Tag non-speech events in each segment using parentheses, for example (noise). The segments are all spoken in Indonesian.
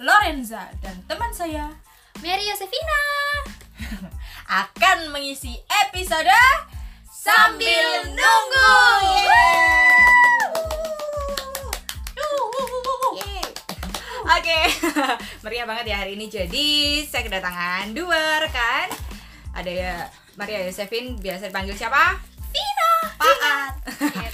Nisa dan teman saya (laughs) Mary Yosefina akan mengisi episode sambil nunggu. Yeay. Oke, (laughs) meriah banget ya hari ini. Jadi saya kedatangan dua rekan. Ada ya Maria Yosefin, biasa dipanggil siapa? Vina. Iya, Paat.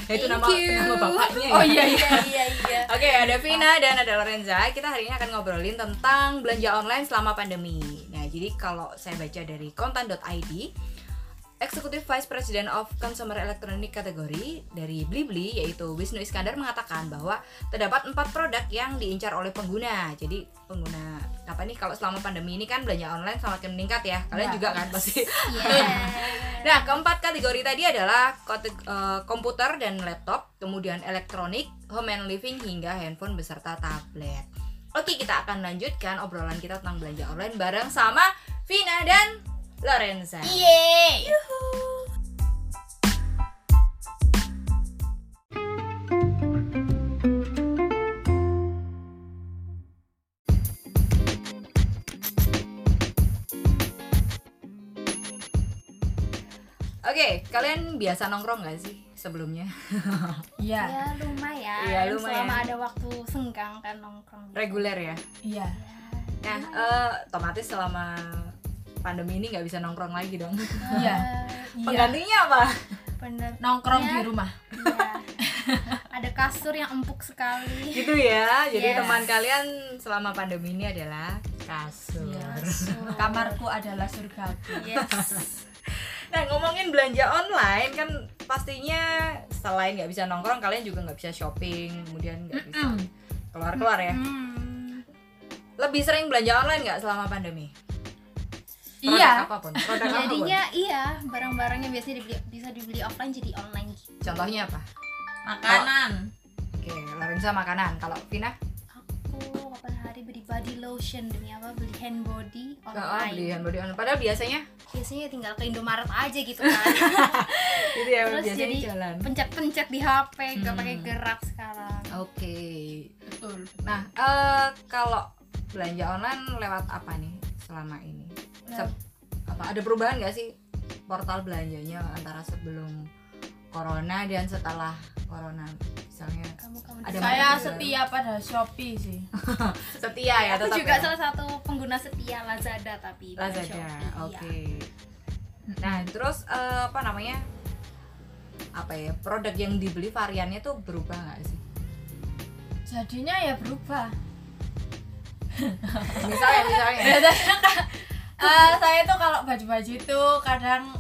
Itu nama Thank you. nama bapaknya ya. Oh iya iya iya iya (laughs) Oke, ada Vina dan ada Lorenza. Kita hari ini akan ngobrolin tentang belanja online selama pandemi. Nah, jadi kalau saya baca dari kontan.id, Executive Vice President of Consumer Electronic kategori dari Blibli yaitu Wisnu Iskandar mengatakan bahwa terdapat empat produk yang diincar oleh pengguna. Jadi pengguna apa nih kalau selama pandemi ini kan belanja online semakin meningkat ya. Kalian Ya. juga kan pasti. Yes. (laughs) Nah, keempat kategori tadi adalah kote- eh, komputer dan laptop, kemudian elektronik, home and living hingga handphone beserta tablet. Oke, kita akan lanjutkan obrolan kita tentang belanja online bareng sama Vina dan Lorenza. Iya. Yeay Oke, kalian biasa nongkrong gak sih sebelumnya? (laughs) Iya, Ya lumayan. Iya, lumayan. Selama ada waktu senggang kan nongkrong. Ya. Reguler ya. iya. Nah, eh, otomatis selama pandemi ini nggak bisa nongkrong lagi dong. Iya. Ah, Iya. Penggantinya (laughs) apa? Bener. Nongkrong Ya. di rumah. Iya. ada kasur yang empuk sekali. Gitu ya. Jadi Yes. teman kalian selama pandemi ini adalah kasur. Kasur. Kamarku adalah surgaku. Yes. (laughs) Nah ngomongin belanja online kan pastinya selain nggak bisa nongkrong kalian juga nggak bisa shopping kemudian nggak bisa Mm. keluar-keluar ya. Hmm. Lebih sering belanja online nggak selama pandemi? Produk Iya. Apapun. Produk apapun. Jadinya iya, barang-barangnya biasanya dibeli, bisa dibeli offline jadi online gitu. Contohnya apa? Makanan. Oke, Lorenza makanan. Kalau Vina Aku kapan hari beli body lotion demi apa? Beli hand body oh, online. beli handbody online. Padahal biasanya Biasanya tinggal ke Indomaret aja (laughs) gitu kan. itu ya (laughs) Terus biasanya jadi jalan. Pencet-pencet di HP, nggak Hmm. pakai gerak sekarang. Oke. Betul. Nah, eh kalau belanja online lewat apa nih selama ini? Nah. Sep- apa ada perubahan nggak sih portal belanjanya antara sebelum corona dan setelah corona misalnya (laughs) Kamu kan- kamu Ada Saya makanan. setia pada Shopee sih. setia ya Aku tetap juga ya? salah satu pengguna setia Lazada tapi bukan Lazada Shopee, oke iya. nah terus eh, apa namanya apa ya produk yang dibeli variannya tuh berubah nggak sih Jadinya ya berubah. misalnya misalnya Eh, saya tuh kalau baju-baju itu kadang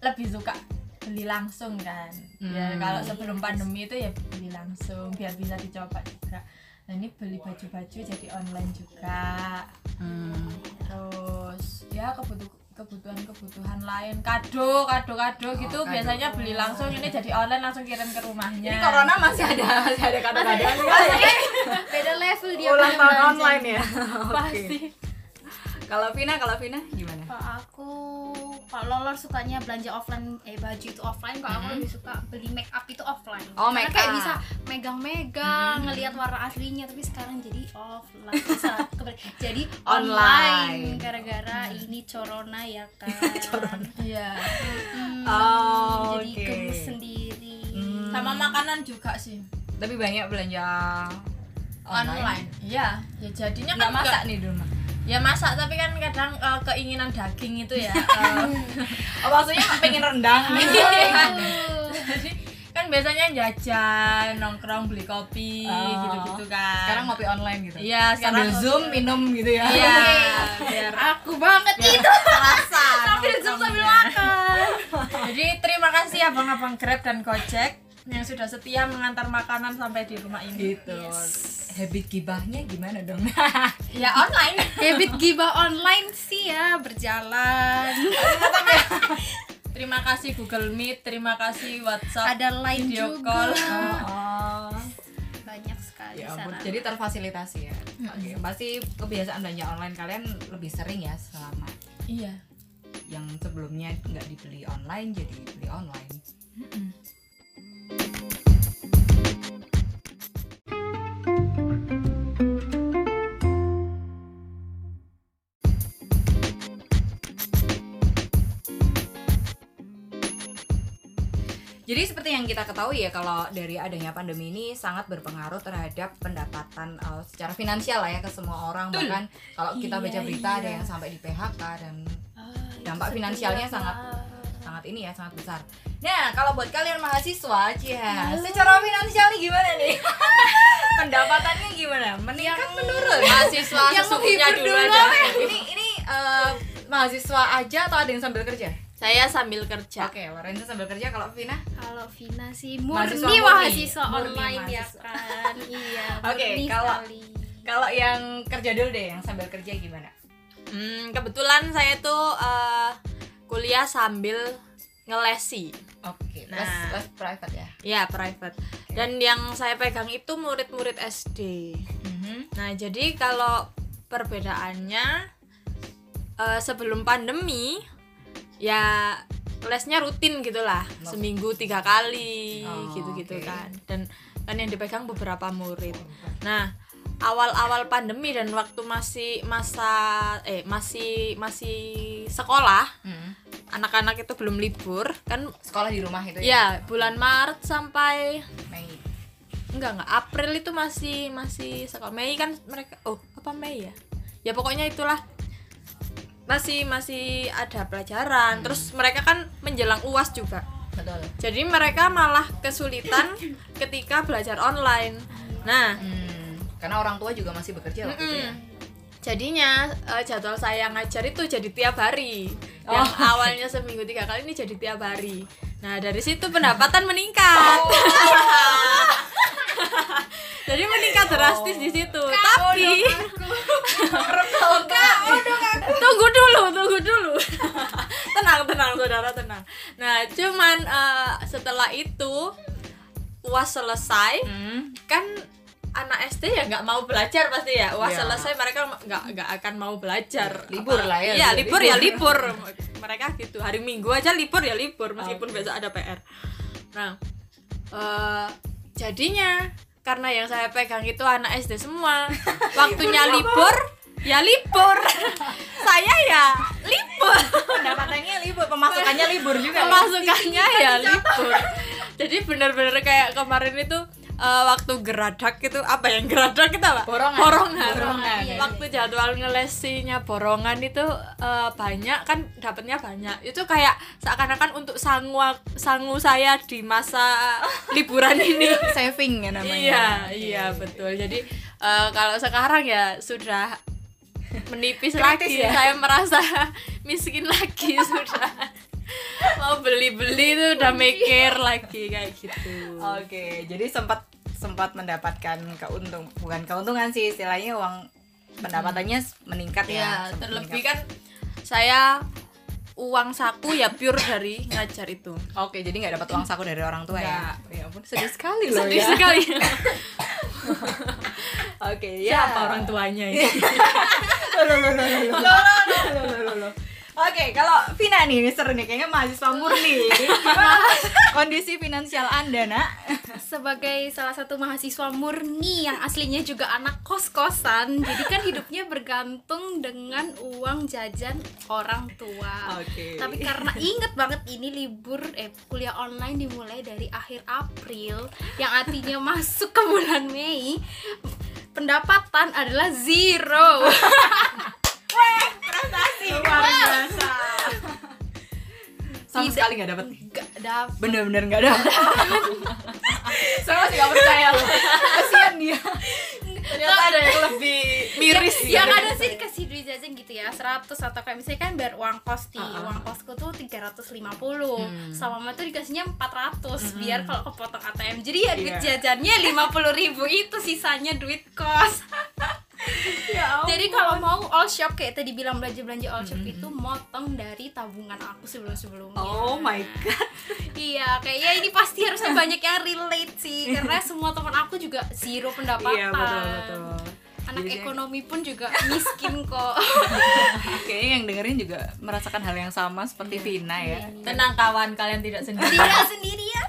lebih suka beli langsung kan. Ya Hmm. kalau sebelum pandemi itu ya beli langsung biar bisa dicoba juga. Nah ini beli baju-baju jadi online juga. Hmm, terus ya kebutuh kebutuhan-kebutuhan lain kado kado kado gitu Oh, kado. biasanya beli langsung ini jadi online langsung kirim ke rumahnya ini corona masih ada masih ada kadang-kadang kan? Beda level dia ulang tahun punya belanja. online ya (laughs) Oke. pasti kalau Vina kalau Vina gimana Kalau aku kalau lolor sukanya belanja offline eh baju itu offline kalau aku lebih suka beli make up itu offline. Mm-hmm. Oh, Mm-hmm. Karena make kayak up. bisa megang-megang, ngelihat warna aslinya tapi sekarang jadi offline. (laughs) Bisa kebalik. jadi Online. online gara-gara ini corona (laughs) ya kan. iya Hmm, Oh, jadi oke. gemes sendiri. Hmm. sama makanan juga sih lebih banyak belanja online iya ya jadinya nggak kan masak nggak- nih di rumah ya masak tapi kan kadang eh, keinginan daging itu ya eh, oh, maksudnya pengen rendang nih Aduh. jadi kan biasanya jajan nongkrong beli kopi Oh. gitu-gitu kan sekarang ngopi online gitu iya sambil sekarang (laughs) zoom minum gitu ya iya (laughs) biar aku banget itu terasa sambil zoom Iya. sambil (laughs) makan Jadi terima kasih abang-abang Grab dan Gojek yang sudah setia mengantar makanan sampai di rumah ini. gitu habit gibahnya gimana dong Ya online. habit gibah online sih ya (laughs) berjalan Terima kasih Google Meet, terima kasih WhatsApp, ada line video juga call. oh banyak sekali ya di ampun sana jadi terfasilitasi ya oke pasti kebiasaan belanja online kalian lebih sering ya selama Iya. yang sebelumnya nggak dibeli online jadi beli online Jadi seperti yang kita ketahui ya kalau dari adanya pandemi ini sangat berpengaruh terhadap pendapatan eh, secara finansial lah ya ke semua orang Betul. bahkan kalau kita Iya, baca berita ada iya. yang sampai di PHK dan Ah, itu Dampak sedih finansialnya banget. sangat- sangat ini ya sangat besar. Nah kalau buat kalian mahasiswa, ya Halo. secara finansial nih gimana nih? (laughs) Pendapatannya gimana? Meningkat menurun? mahasiswa yang sesungguhnya menghibur dulu dulu ya? aja. Ini ini eh, mahasiswa aja atau ada yang sambil kerja? Saya sambil kerja. Oke, Lorenza sambil kerja kalau Vina? Kalau Vina sih Mahasiswa murni murni. mahasiswa Murni online ya mahasiswa. (laughs) kan. Iya. Oke, murni kalau- sekali. Kalau yang kerja dulu deh, yang sambil kerja gimana? Hmm, kebetulan saya tuh eh, kuliah sambil ngelesi. Oke, Nah. les les private ya. Ya, private. Dan yang saya pegang itu murid-murid SD. Nah, jadi kalau perbedaannya eh, sebelum pandemi ya lesnya rutin gitulah, Oke. seminggu tiga kali Oh, gitu-gitu oke. Oh, kan. Dan kan yang dipegang beberapa murid. Nah, awal-awal pandemi dan waktu masih masa eh masih masih sekolah, Hmm. anak-anak itu belum libur kan Sekolah di rumah gitu ya? ya bulan Maret sampai Mei. enggak enggak April itu masih masih sekolah Mei kan mereka oh apa Mei ya ya pokoknya itulah masih masih ada pelajaran terus mereka kan menjelang uas juga Betul. jadi mereka malah kesulitan ketika belajar online nah Hmm, Karena orang tua juga masih bekerja waktu itu ya. Mm-mm. jadinya eh, jadwal saya ngajar itu jadi tiap hari Oh. yang awalnya seminggu tiga kali ini jadi tiap hari nah dari situ pendapatan meningkat (laughs) jadi meningkat drastis di situ tapi tunggu dulu tunggu dulu (laughs) tenang tenang saudara tenang nah cuman eh, setelah itu uas selesai Hmm. kan anak SD ya nggak mau belajar pasti ya wah Ya. selesai mereka nggak nggak akan mau belajar Libur lah ya, iya libur. libur, ya libur mereka gitu hari Minggu aja libur ya libur meskipun besok ada PR nah eh, jadinya karena yang saya pegang itu anak SD (laughs) semua waktunya libur ya libur (laughs) saya ya libur Pendapatannya libur, (laughs) pemasukannya libur juga. pemasukannya ya libur jadi bener-bener kayak kemarin itu eh, waktu geradak itu apa yang geradak kita pak Borongan. borongan, Borongan, ya. iya, waktu jadwal ngelesinya borongan itu eh, banyak kan dapatnya banyak itu kayak seakan-akan untuk sangu sangu saya di masa liburan ini Saving ya namanya. iya iya betul jadi eh, kalau sekarang ya sudah menipis lagi ya? saya merasa (laughs) miskin lagi sudah mau beli beli itu udah mikir lagi kayak gitu Oke, jadi sempat sempat mendapatkan keuntung bukan keuntungan sih istilahnya uang pendapatannya meningkat ya. ya sempat terlebih meningkat. kan saya uang saku ya pure dari ngajar itu Oke, jadi nggak dapat uang saku dari orang tua ya. Nggak. Ya ampun, sedih (laughs) sekali loh sedih ya. sekali Oke, ya. siapa orang tuanya ini (laughs) Loh, loh, loh, loh, loh. Loh, loh, loh, loh. Oke, kalau Vina nih, ini seru nih, kayaknya mahasiswa (laughs) murni. Gimana kondisi finansial Anda, nak? sebagai salah satu mahasiswa murni yang aslinya juga anak kos-kosan, jadi kan hidupnya bergantung dengan uang jajan orang tua. Oke. Tapi karena inget banget ini libur eh kuliah online dimulai dari akhir April yang (laughs) artinya masuk ke bulan Mei. Pendapatan adalah zero. (laughs) Luar biasa. Sama Iya. Tidak. sekali nggak dapat nih. Gak dapet Bener-bener nggak dapat. (laughs) Saya masih nggak percaya loh. Kasian dia. Ternyata ada yang lebih miris ya, gitu. ya kadang sih dikasih duit jajan gitu ya 100 atau kayak misalnya kan bayar uang kos nih Ah, ah, uang kosku tuh 350 Hmm. sama mama tuh dikasihnya 400 biar kalau kepotong ATM jadi ya duit Iya. jajannya 50.000 ribu itu sisanya duit (laughs) kos Ya jadi kalau mau all shop kayak tadi bilang belanja belanja all shop itu motong dari tabungan aku sebelum sebelumnya Hmm. Oh my god. iya kayaknya ini pasti harusnya banyak yang relate sih karena semua teman aku juga zero pendapatan Iya betul betul. anak Jadi- ekonomi pun (laughs) juga miskin kok Kayaknya yang dengerin juga merasakan hal yang sama seperti Vina ya. tenang kawan kalian tidak sendiri tidak sendirian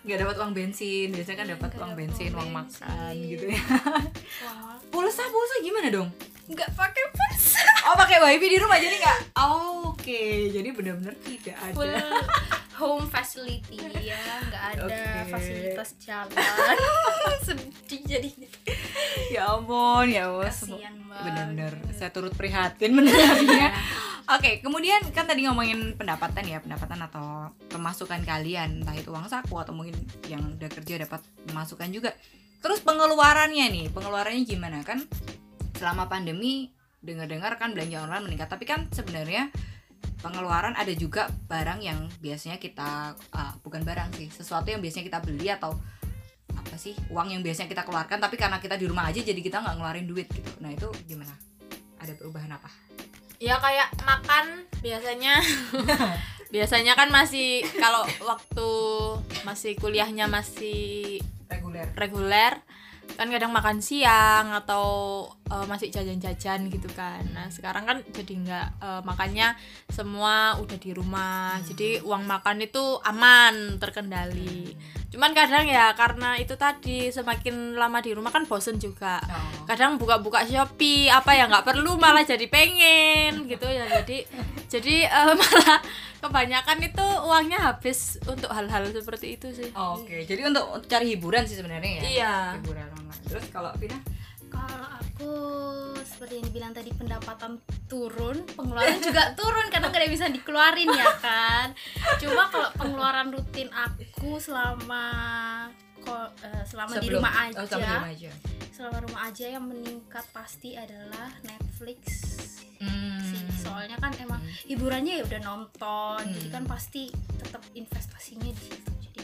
Nggak dapat uang bensin, biasanya kan dapat Iya, nggak uang dapat bensin, uang uang bensin. makan gitu ya. Wah, Pulsa pulsa gimana dong? nggak pakai pulsa Oh pakai wifi di rumah jadi nggak? Oh, Oke, jadi benar-benar tidak ada. full home facility ya nggak ada Oke. fasilitas (laughs) jalan sedih jadinya ya ampun ya ampun Kasian banget. bener-bener saya turut prihatin (laughs) benernya oke kemudian kan tadi ngomongin pendapatan ya pendapatan atau pemasukan kalian entah itu uang saku atau mungkin yang udah kerja dapat pemasukan juga terus pengeluarannya nih pengeluarannya gimana kan selama pandemi dengar-dengar kan belanja online meningkat tapi kan sebenarnya pengeluaran ada juga barang yang biasanya kita ah, bukan barang sih sesuatu yang biasanya kita beli atau apa sih uang yang biasanya kita keluarkan tapi karena kita di rumah aja jadi kita nggak ngeluarin duit gitu nah itu gimana ada perubahan apa ya kayak makan biasanya biasanya kan masih kalau waktu masih kuliahnya masih reguler reguler kan kadang makan siang atau eh, masih jajan-jajan gitu kan nah sekarang kan jadi nggak eh, makannya semua udah di rumah jadi uang makan itu aman terkendali cuman kadang ya karena itu tadi semakin lama di rumah kan bosen juga kadang buka-buka shopee apa ya nggak perlu malah jadi pengen gitu ya jadi jadi eh, (laughs) malah kebanyakan itu uangnya habis untuk hal-hal seperti itu sih oke jadi untuk, untuk cari hiburan sih sebenarnya ya Oh, Iya. hiburan online terus kalau Vina kalau aku seperti yang dibilang tadi pendapatan turun pengeluaran (laughs) juga turun karena nggak ada yang bisa dikeluarin ya kan cuma kalau pengeluaran rutin aku selama ko- eh, selama di Sebelum- rumah oh, sama di aja rumah aja selama rumah aja yang meningkat pasti adalah Netflix Hmm. Hmm. sih soalnya kan emang hiburannya ya udah nonton jadi kan pasti tetap investasinya di situ jadi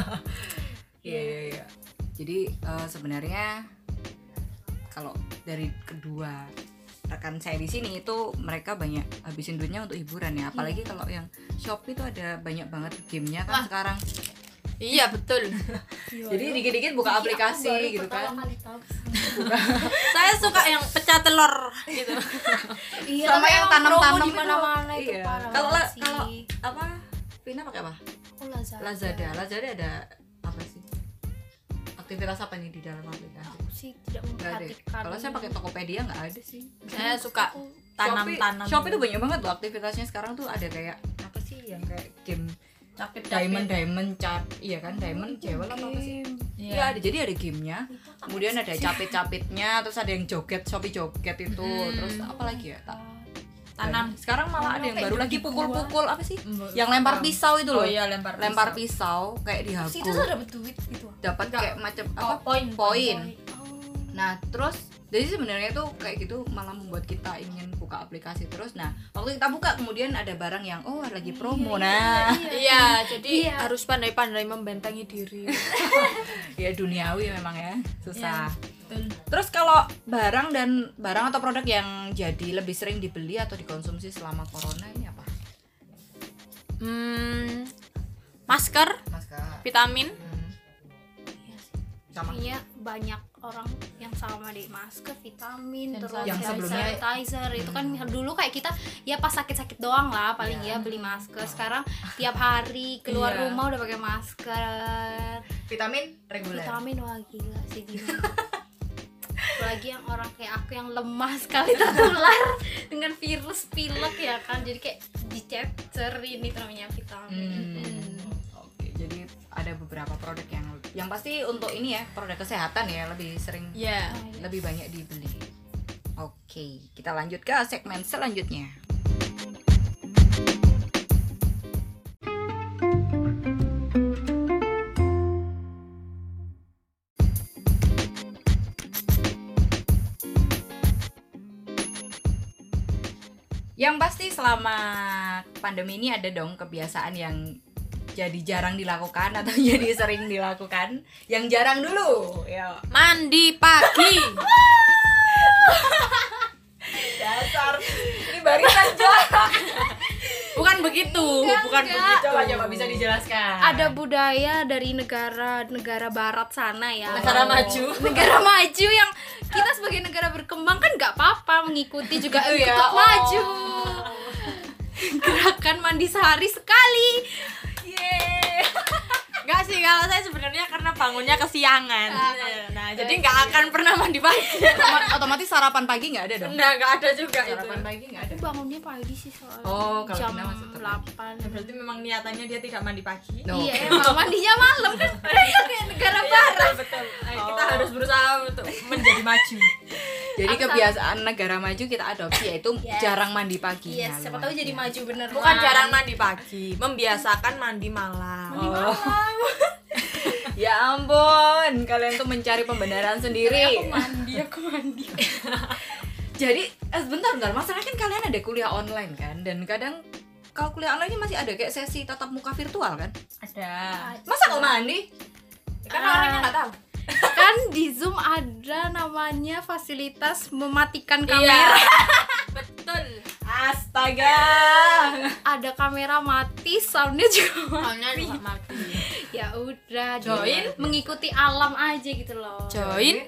(laughs) Iya iya iya. Jadi eh, sebenarnya kalau dari kedua rekan saya di sini itu mereka banyak habisin duitnya untuk hiburan ya. Apalagi Iya. kalau yang Shopee itu ada banyak banget gamenya kan sekarang. iya betul iya, Jadi dikit-dikit buka aplikasi Baru gitu kan. pertama kali (laughs) tahu. saya suka yang pecah telur gitu iya Sama yang tanam-tanam di mana-mana itu iya. parah Kalau la- banget sih. kalau apa? Vina pakai apa? Oh, Lazada. Lazada. Lazada ada apa sih? Aktivitas apa nih di dalam aplikasi? aku sih tidak Enggak ada. ya? memperhatikan Kalau saya pakai Tokopedia nggak ada sih. saya suka Shopee- tanam-tanam Shopee tuh banyak banget loh aktivitasnya sekarang tuh ada kayak apa sih yang kayak game capit diamond diamond cap iya kan diamond cewek apa apa sih Iya. iya ada jadi ada gamenya kemudian ada capit capitnya terus ada yang joget shopee joget itu terus apa lagi ya tak Tanam. sekarang Iya, malah ada yang kayak baru lagi gigi pukul pukul apa sih gitu. Mbak- yang lempar pisau itu loh Oh iya, lempar pisau. lempar pisau kayak dihaku situ sudah dapat duit gitu dapat kayak macam Oh, apa poin. poin oh Nah, terus jadi sebenarnya tuh kayak gitu malah membuat kita ingin buka aplikasi terus. Nah, waktu kita buka kemudian ada barang yang oh lagi promo. Nah, iya jadi Iya. harus pandai-pandai membentengi diri iya. (laughs) ya duniawi memang ya, susah. Terus kalau barang dan barang atau produk yang jadi lebih sering dibeli atau dikonsumsi selama corona ini apa? (laughs) hmm, masker Masker. vitamin Sama. Iya banyak orang yang sama deh masker, vitamin, Dan terus yang hand sebelumnya- sanitizer itu kan dulu kayak kita ya pas sakit-sakit doang lah paling Iya. ya beli masker. Sekarang tiap hari keluar Iya. rumah udah pakai masker. Vitamin reguler. Vitamin wah gila sih (laughs) gila. Apalagi yang orang kayak aku yang lemah sekali (laughs) tertular dengan virus pilek ya kan. Jadi kayak dicecer ini tuh namanya vitamin. Oke, jadi ada beberapa produk yang yang pasti untuk ini ya, produk kesehatan ya lebih sering ya lebih banyak dibeli. Oke, kita lanjut ke segmen selanjutnya. Yang pasti selama pandemi ini ada dong kebiasaan yang jadi jarang dilakukan atau (laughs) jadi sering dilakukan. Yang jarang dulu, ya. mandi pagi dasar ini barisan jarak bukan begitu bukan begitu coba coba bisa dijelaskan Ada budaya dari negara-negara barat sana ya. negara Kalau- maju negara maju yang kita sebagai negara berkembang kan nggak apa-apa mengikuti juga Gitu ya, ikut oh. maju (laughs) gerakan mandi sehari sekali Yeay. Enggak sih kalau saya sebenarnya karena bangunnya kesiangan. Ah, Nah, jadi nggak akan pernah mandi pagi. Otoma- otomatis sarapan pagi nggak ada dong Nah, nggak ada juga itu. sarapan pagi nggak ada Aku bangunnya pagi sih soalnya Oh, kalau jam Dina masih telat. 8 Berarti memang niatannya dia tidak mandi pagi. No. Iya, emang mandinya malam kan mereka (laughs) kayak negara Iya. barat. Betul. Ayo, Kita harus berusaha untuk menjadi maju. jadi Aku kebiasaan negara maju kita adopsi yaitu Yes. jarang mandi pagi Iya, Nah, siapa luar tahu jadi biasa. maju Nah. beneran. Bukan jarang mandi pagi, membiasakan mandi malam. Oh. ya ampun kalian tuh mencari pembenaran sendiri mandi, aku mandi. (laughs) jadi eh, bentar bentar masalah kan kalian ada kuliah online kan dan kadang kalau kuliah online ini masih ada kayak sesi tatap muka virtual kan Ada. masa nggak mandi kan Ah. orangnya nggak tahu kan di Zoom ada namanya fasilitas mematikan Iya. kamera. Betul. astaga Ada kamera mati, soundnya juga mati. Soalnya juga mati. Ya udah, Join. dia mengikuti alam aja gitu loh. Join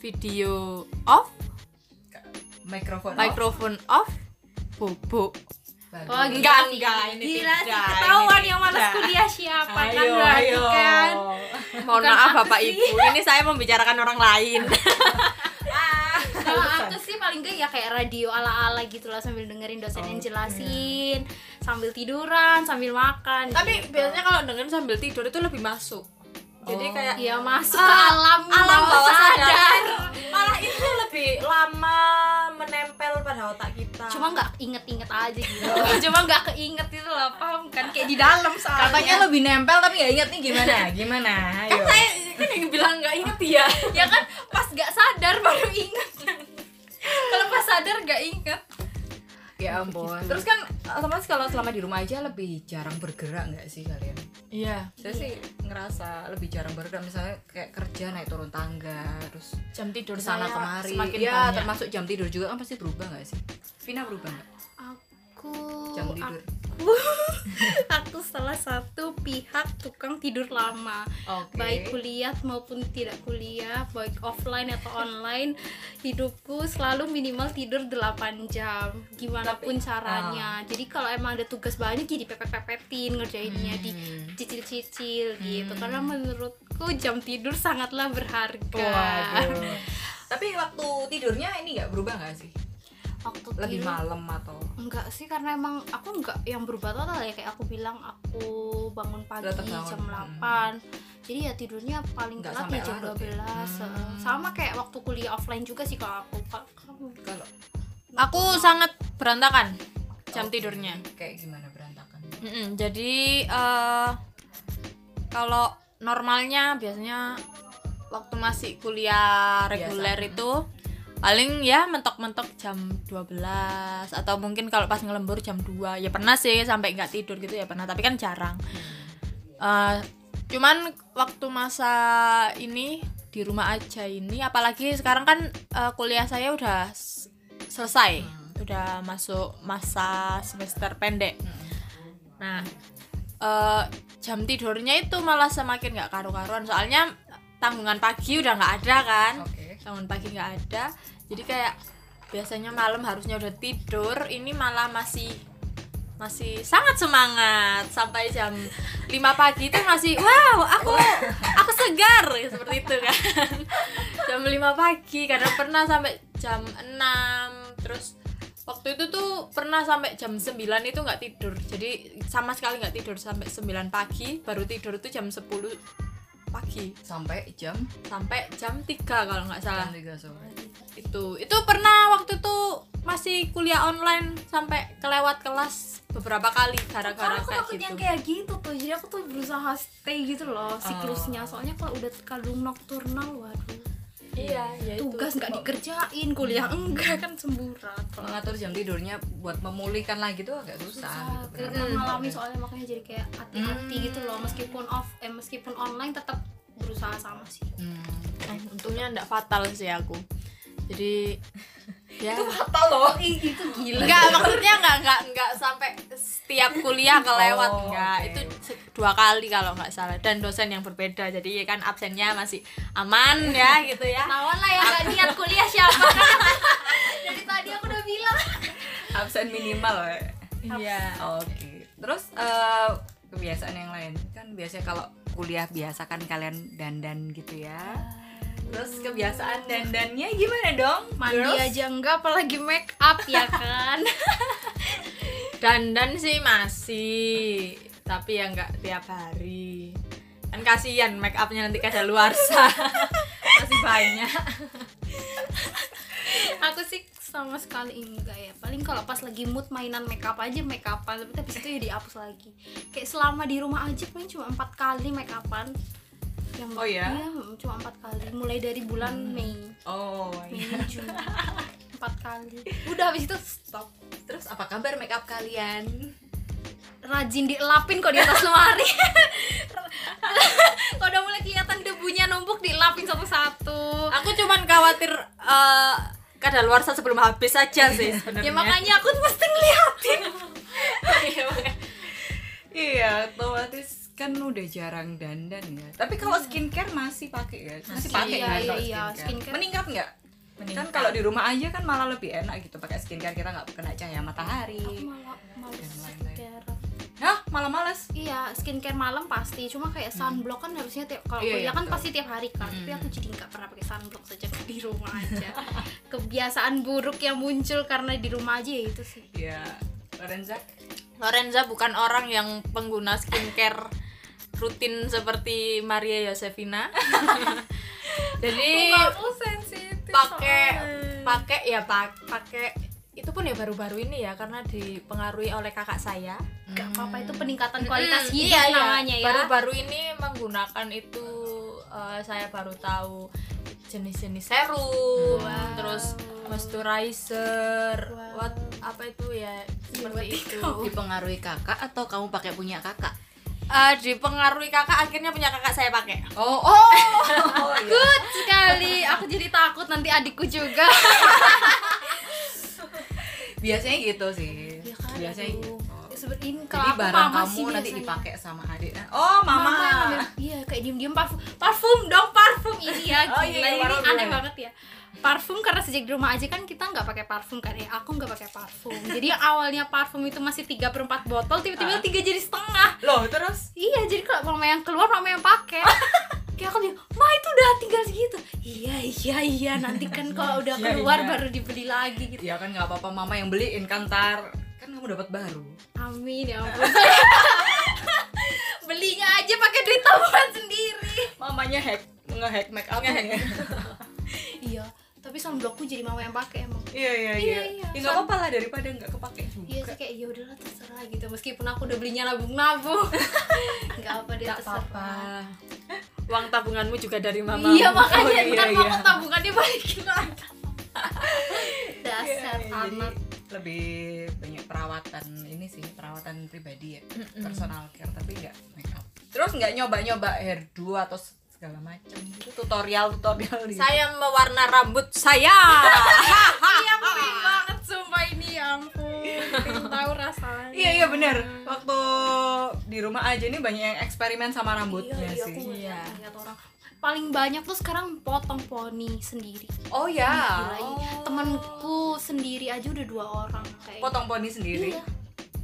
video off, mikrofon microphone off, bobo. Oh, Bagus. Enggak, sih. enggak, ini gila sih tidak, ketahuan ini yang malas tidak. kuliah siapa kan Ayo, berarti ayo. kan. Mohon Bukan maaf aku Bapak sih. Ibu, ini saya membicarakan orang lain. Kalau aku sih paling gak ya kayak radio ala-ala gitu lah sambil dengerin dosen yang jelasin, sambil tiduran, sambil makan. (laughs) Tapi gitu. biasanya kalau dengerin sambil tidur itu lebih masuk. Jadi Oh. kayak ya masuk ke Ah, alam, alam bawah sadar. Nah, Malah itu lebih lama menempel pada otak kita. Cuma nggak inget-inget aja (laughs) gitu. Iya. Cuma nggak keinget itu loh, paham kan kayak di dalam soalnya. katanya lebih nempel tapi nggak inget nih gimana gimana ayo saya kan yang bilang nggak inget ya. ya kan pas nggak sadar baru inget. (laughs) Kalau pas sadar nggak inget. ya ampun terus kan otomatis kalau selama di rumah aja lebih jarang bergerak nggak sih kalian Iya. saya sih ngerasa lebih jarang bergerak misalnya kayak kerja naik turun tangga terus Jam tidur sana saya kemari semakin ya banyak. termasuk jam tidur juga kan pasti berubah nggak sih Vina berubah nggak Aku jam tidur aku (laughs) aku salah satu pihak tukang tidur lama Oke. baik kuliah maupun tidak kuliah baik offline atau (laughs) online hidupku selalu minimal tidur 8 jam gimana pun ah. caranya jadi kalau emang ada tugas banyak jadi pepet-pepetin ngerjainnya di Hmm. cicil-cicil gitu karena menurutku jam tidur sangatlah berharga Waduh. tapi waktu tidurnya ini nggak berubah nggak sih (laughs) waktu lebih tidur malam atau Enggak sih karena emang aku enggak yang berubah total ya kayak aku bilang aku bangun pagi Tetap bangun. jam 8. Jadi ya tidurnya paling Enggak telat sampai ya jam larut 12. ya? heeh. Sama kayak waktu kuliah offline juga sih kalau aku. Kalau kamu kalau Aku sangat berantakan jam tidurnya. kayak gimana berantakan Mm-mm, jadi eh, kalau normalnya biasanya waktu masih kuliah reguler itu paling ya mentok-mentok jam 12 atau mungkin kalau pas ngelembur jam 2 ya pernah sih sampai nggak tidur gitu ya pernah tapi kan jarang Eh, cuman waktu masa ini di rumah aja ini apalagi sekarang kan eh, kuliah saya udah s- selesai udah masuk masa semester pendek Nah, eh, jam tidurnya itu malah semakin nggak karu-karuan. Soalnya tanggungan pagi udah nggak ada kan. oke Tanggungan pagi nggak ada. Jadi kayak biasanya malam harusnya udah tidur, ini malah masih masih sangat semangat sampai jam 5 pagi itu masih wow aku aku segar seperti itu kan jam 5 pagi karena pernah sampai jam 6 terus waktu itu tuh pernah sampai jam 9 itu nggak tidur jadi sama sekali nggak tidur sampai 9 pagi baru tidur itu jam 10 pagi sampai jam sampai jam 3 kalau nggak salah jam tiga sore itu itu pernah waktu itu masih kuliah online sampai kelewat kelas beberapa kali gara-gara Karena aku kayak takut gitu yang kayak gitu tuh. Jadi aku tuh berusaha stay gitu loh siklusnya. Oh. Soalnya kalau udah kadung nokturnal waduh. iya ya itu. Tugas nggak dikerjain, kuliah enggak kan semburat. Kalau mengatur jam tidurnya buat memulihkan lagi tuh agak susah, gitu. Karena mengalami soalnya makanya jadi kayak hati-hati gitu loh meskipun off eh meskipun online tetap berusaha sama sih Hmm. Eh, untungnya enggak fatal sih aku (laughs) jadi ya fatal loh itu gila enggak maksudnya enggak enggak enggak sampai setiap kuliah kelewat Oh, enggak oke. itu se- dua kali kalau nggak salah dan dosen yang berbeda jadi kan absennya masih aman ya gitu ya lawan lah ya gak niat kuliah siapa (laughs) dari tadi aku udah bilang absen minimal ya. iya Oke. Terus eh, kebiasaan yang lain. Kak, kan biasanya kalau kuliah biasa kan kalian dandan gitu ya terus kebiasaan dandannya gimana dong mandi girls? aja enggak apalagi make up ya kan dandan sih masih tapi ya nggak tiap hari kan kasihan make upnya nanti kada luar masih banyak (laughs) aku sih sama sekali enggak ya paling kalau pas lagi mood mainan make up aja make upan tapi habis itu ya dihapus lagi kayak selama di rumah aja paling cuma empat kali make upan yang Oh ya? Hmm. Iya, mm, cuma empat kali mulai dari bulan Mei oh Mei iya. Juni empat kali udah habis itu stop terus apa kabar make up kalian rajin dielapin kok di atas (laughs) lemari kok udah mulai kelihatan debunya numpuk dielapin satu-satu (laughs) aku cuman khawatir eh kada luar sebelum habis aja sih sebenarnya ya makanya aku mesti ngeliatin (laughs) Iya, makanya. iya otomatis kan udah jarang dandan ya tapi kalau skincare masih pakai ya masih pakai Iya, kan iya, kalau iya, skincare. skincare. meningkat nggak kan kalau di rumah aja kan malah lebih enak gitu pakai skincare kita nggak kena cahaya matahari malah males Dan lain-lain. skincare hah malah males iya skincare malam pasti cuma kayak sunblock kan harusnya tiap kalau Hmm. Iya, iya, kuliah kan betul. Hmm. pasti tiap hari kan tapi aku jadi nggak pernah pakai sunblock sejak (laughs) di rumah aja kebiasaan buruk yang muncul karena di rumah aja ya itu sih ya Lorenza Lorenza bukan orang yang pengguna skincare rutin seperti Maria Yosefina (laughs) jadi sensitif pakai pakai ya pak pakai itu pun ya baru-baru ini ya karena dipengaruhi oleh kakak saya nggak apa-apa itu peningkatan Hmm, kualitas hidup iya, iya. namanya ya baru-baru ini menggunakan itu eh, saya baru tahu jenis-jenis serum Hmm. Wow. terus moisturizer Wow. Iya, what apa itu ya seperti itu dipengaruhi kakak atau kamu pakai punya kakak (laughs) Eh, dipengaruhi kakak akhirnya punya kakak saya pakai oh oh, (laughs) oh iya. good sekali aku jadi takut nanti adikku juga biasanya gitu sih ya kan biasanya gitu aduh. Seperti ini jadi kalau aku barang mama kamu sih nanti biasanya. dipakai sama adik oh mama, mama yang ngambil iya kayak diem diem parfum parfum dong parfum ini ya Oh, gila iya, iya, ini parfum. aneh banget ya parfum karena sejak di rumah aja kan kita nggak pakai parfum kan ya aku nggak pakai parfum (laughs) jadi yang awalnya parfum itu masih 3 per 4 botol tiba-tiba tiga jadi setengah loh terus iya jadi kalau mama yang keluar mama yang (laughs) pakai kayak aku bilang ma itu udah tinggal segitu iya iya iya nanti (laughs) kan kalau udah Iya, keluar iya. baru dibeli lagi gitu Ya kan nggak apa-apa mama yang beliin kan tar kan kamu dapat baru. amin ya ampun (laughs) belinya aja pakai duit tabungan sendiri Mamanya hack ngehack make up iya tapi sunblockku jadi mama yang pakai emang (laughs) Iya iya Iya, iya. iya. Ya nggak apa-apa lah daripada nggak kepake juga. iya sih kayak ya udahlah terserah gitu meskipun aku udah belinya (laughs) nabung-nabung nggak apa dia Nggak terserah apa-apa. (laughs) uang tabunganmu juga dari mama iya Ah. makanya Oh, iya, ntar mama iya. tabungannya balikin lagi (laughs) Iya, dasar iya, jadi anak lebih banyak perawatan ini sih perawatan pribadi ya personal care tapi nggak make up terus nggak nyoba nyoba hairdo atau segala macam gitu tutorial tutorial gitu. saya mewarna rambut saya (laughs) (laughs) Ah. iya penting banget sumpah ini ya ampun pengen tahu rasanya iya iya bener waktu di rumah aja ini banyak yang eksperimen sama rambutnya iya iya sih aku Iya. ngeliat ngeliat orang paling banyak tuh sekarang potong poni sendiri oh ya Gila, Oh. ini temanku sendiri aja udah dua orang kayak potong poni sendiri Iya.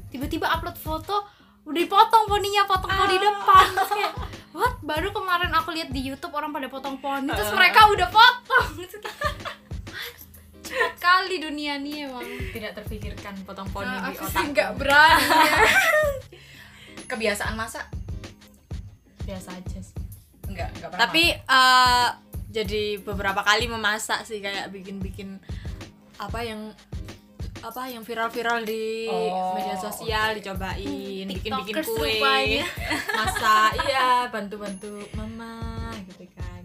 Tiba-tiba upload foto udah dipotong poninya, potong poni depan. Terus kayak, What? Baru kemarin aku lihat di YouTube orang pada potong poni, terus mereka udah potong. (laughs) Terus kayak, "What? Cepat kali dunia nih emang. tidak terpikirkan potong poni Nah, di aku sih otak nggak berani. kebiasaan masak biasa aja sih Enggak, enggak pernah. tapi eh, jadi beberapa kali memasak sih kayak bikin-bikin apa yang apa yang viral-viral di Oh, media sosial dicobain bikin-bikin Hmm, Tiktokers kue rupanya. (laughs) masak iya bantu-bantu mama gitu kan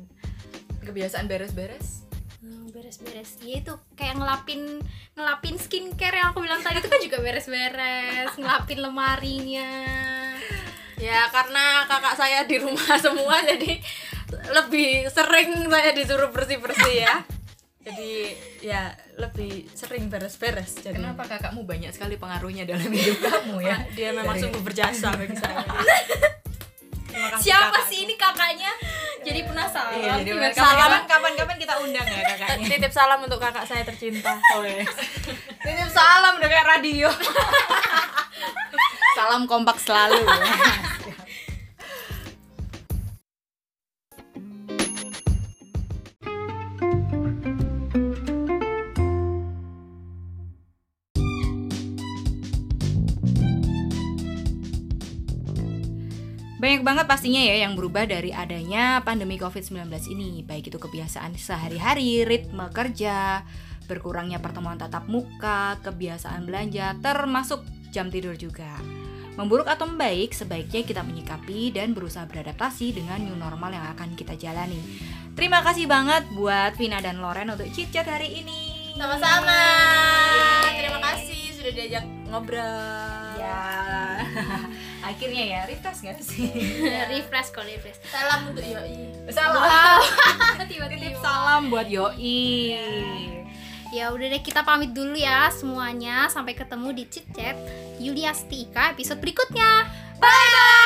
kebiasaan beres-beres. Hmm, beres-beres ya itu kayak ngelapin ngelapin skincare yang aku bilang tadi itu kan juga beres-beres ngelapin lemarinya ya karena kakak saya di rumah (laughs) semua jadi lebih sering saya disuruh bersih-bersih ya jadi ya lebih sering beres-beres jadi Kenapa kakakmu banyak sekali pengaruhnya dalam hidup kamu ya? dia memang Dari- sungguh (laughs) berjasa bagi saya (laughs) Terima kasih, siapa kakak. sih ini kakaknya jadi penasaran Iya, jadi Tiba-tiba kapan- salam. kapan-kapan kita undang ya kakaknya. titip salam untuk kakak saya tercinta Titip salam udah kayak radio. salam kompak selalu. Banyak banget pastinya ya yang berubah dari adanya pandemi COVID-19 ini, baik itu kebiasaan sehari-hari, ritme kerja, berkurangnya pertemuan tatap muka, kebiasaan belanja, termasuk jam tidur juga. Memburuk atau membaik, sebaiknya kita menyikapi dan berusaha beradaptasi dengan new normal yang akan kita jalani. Terima kasih banget buat Vina dan Loren untuk chit-chat hari ini. Sama-sama. Terima kasih sudah diajak ngobrol. Ya, (laughs) akhirnya ya, refresh gak sih? refresh kok refresh Salam untuk Yoi. Salam. Titip tiba-tiba salam buat Yoi. ya udah deh kita pamit dulu ya semuanya sampai ketemu di chit chat Yuliasti Ika episode berikutnya Bye-bye.